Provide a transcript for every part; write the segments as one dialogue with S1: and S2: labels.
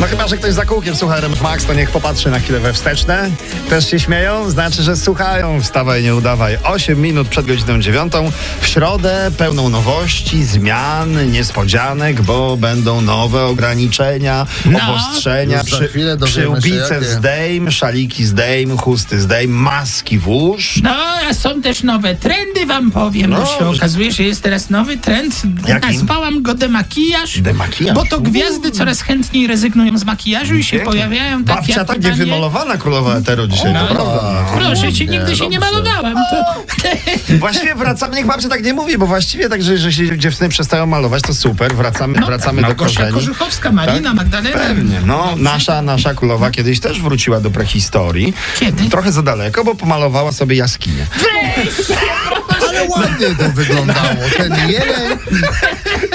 S1: No chyba, że ktoś za kółkiem słucha RMF Max, to niech popatrzy na chwilę we wsteczne. Też się śmieją, znaczy, że słuchają. Wstawaj, nie udawaj. 8 minut przed godziną 9. W środę pełną nowości, zmian, niespodzianek, bo będą nowe ograniczenia,
S2: No.
S1: obostrzenia,
S3: Już za chwilę dowiemy się,
S1: przyłbice
S3: jakie.
S1: zdejm, szaliki zdejm, chusty zdejm, maski włóż.
S2: No, a są też nowe trendy, wam powiem.
S1: No.
S2: bo się okazuje, że jest teraz nowy trend.
S1: Jaki?
S2: Nazwałam go demakijaż.
S1: Demakijaż?
S2: Bo to gwiazdy coraz chętniej rezygnują z makijażu i się
S1: Pięknie.
S2: pojawiają takie
S1: Babcia
S2: jak
S1: tak
S2: pytanie-
S1: niewymalowana królowa eteru dzisiaj, to prawda. no.
S2: Proszę cię,
S3: Nie,
S2: nigdy się nie
S3: dobrze.
S2: malowałem. To...
S1: Właściwie wracamy, niech babcia tak nie mówi, bo właściwie tak, że, że się dziewczyny przestają malować, to super, wracamy, wracamy do
S2: No, Małgosia
S1: korzeni. Tak?
S2: Korzuchowska, Marina, Magdalena.
S1: Pewnie, no, nasza, nasza królowa kiedyś też wróciła do prehistorii.
S2: Kiedy?
S1: Trochę za daleko, bo pomalowała sobie jaskinię.
S3: Ale ładnie to wyglądało. Ten jeleń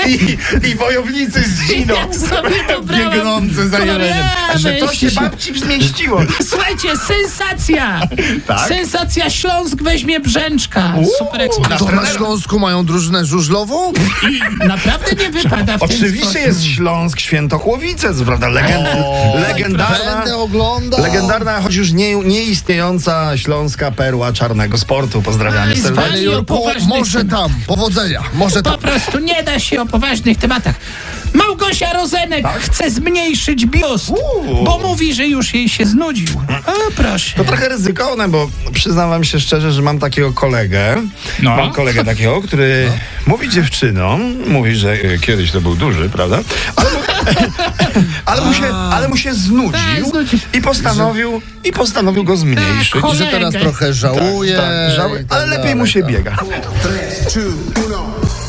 S1: I, i wojownicy z ziną
S2: Ja sobie dobrałam
S1: biegnący za jeleniem. A Że to się
S2: kolorę.
S1: babci zmieściło.
S2: Słuchajcie, sensacja!
S1: Tak?
S2: Sensacja Śląsk weźmie Brzęczka. Super ekspres.
S1: na
S3: to na
S1: trenera.
S3: Śląsku mają drużynę żużlową?
S2: Naprawdę nie wypada w ten
S1: Oczywiście
S2: sposób.
S1: jest Śląsk Świętochłowice, co prawda, legend, legendarna.
S3: Będę oglądał.
S1: Legendarna, choć już nie, nieistniejąca śląska perła czarnego sportu.
S2: Ale
S1: Pozdrawiamy
S2: jest
S1: serdecznie.
S3: Panie Jurku,
S2: Poważny
S3: może
S2: temat.
S3: tam. Powodzenia. Może tam.
S2: Po prostu nie da się o poważnych tematach. Małgosia Rozenek chce zmniejszyć biust,
S1: Tak? Uuu.
S2: bo mówi, że już jej się znudził. O, proszę.
S1: To trochę ryzykowne, bo przyznam wam się szczerze, że mam takiego kolegę.
S2: No.
S1: Mam kolegę takiego, który mówi dziewczynom, mówi, że e, kiedyś to był duży, prawda? Ale mu, ale mu, się, ale mu się
S2: Tak,
S1: znudził
S2: znudził.
S1: i postanowił, i postanowił go zmniejszyć.
S2: Tak,
S3: I że teraz trochę żałuję.
S1: Tak, żałuję,
S3: i tak
S1: ale lepiej
S3: dalej,
S1: mu się
S3: tak.
S1: biega.
S4: Tres, two, uno.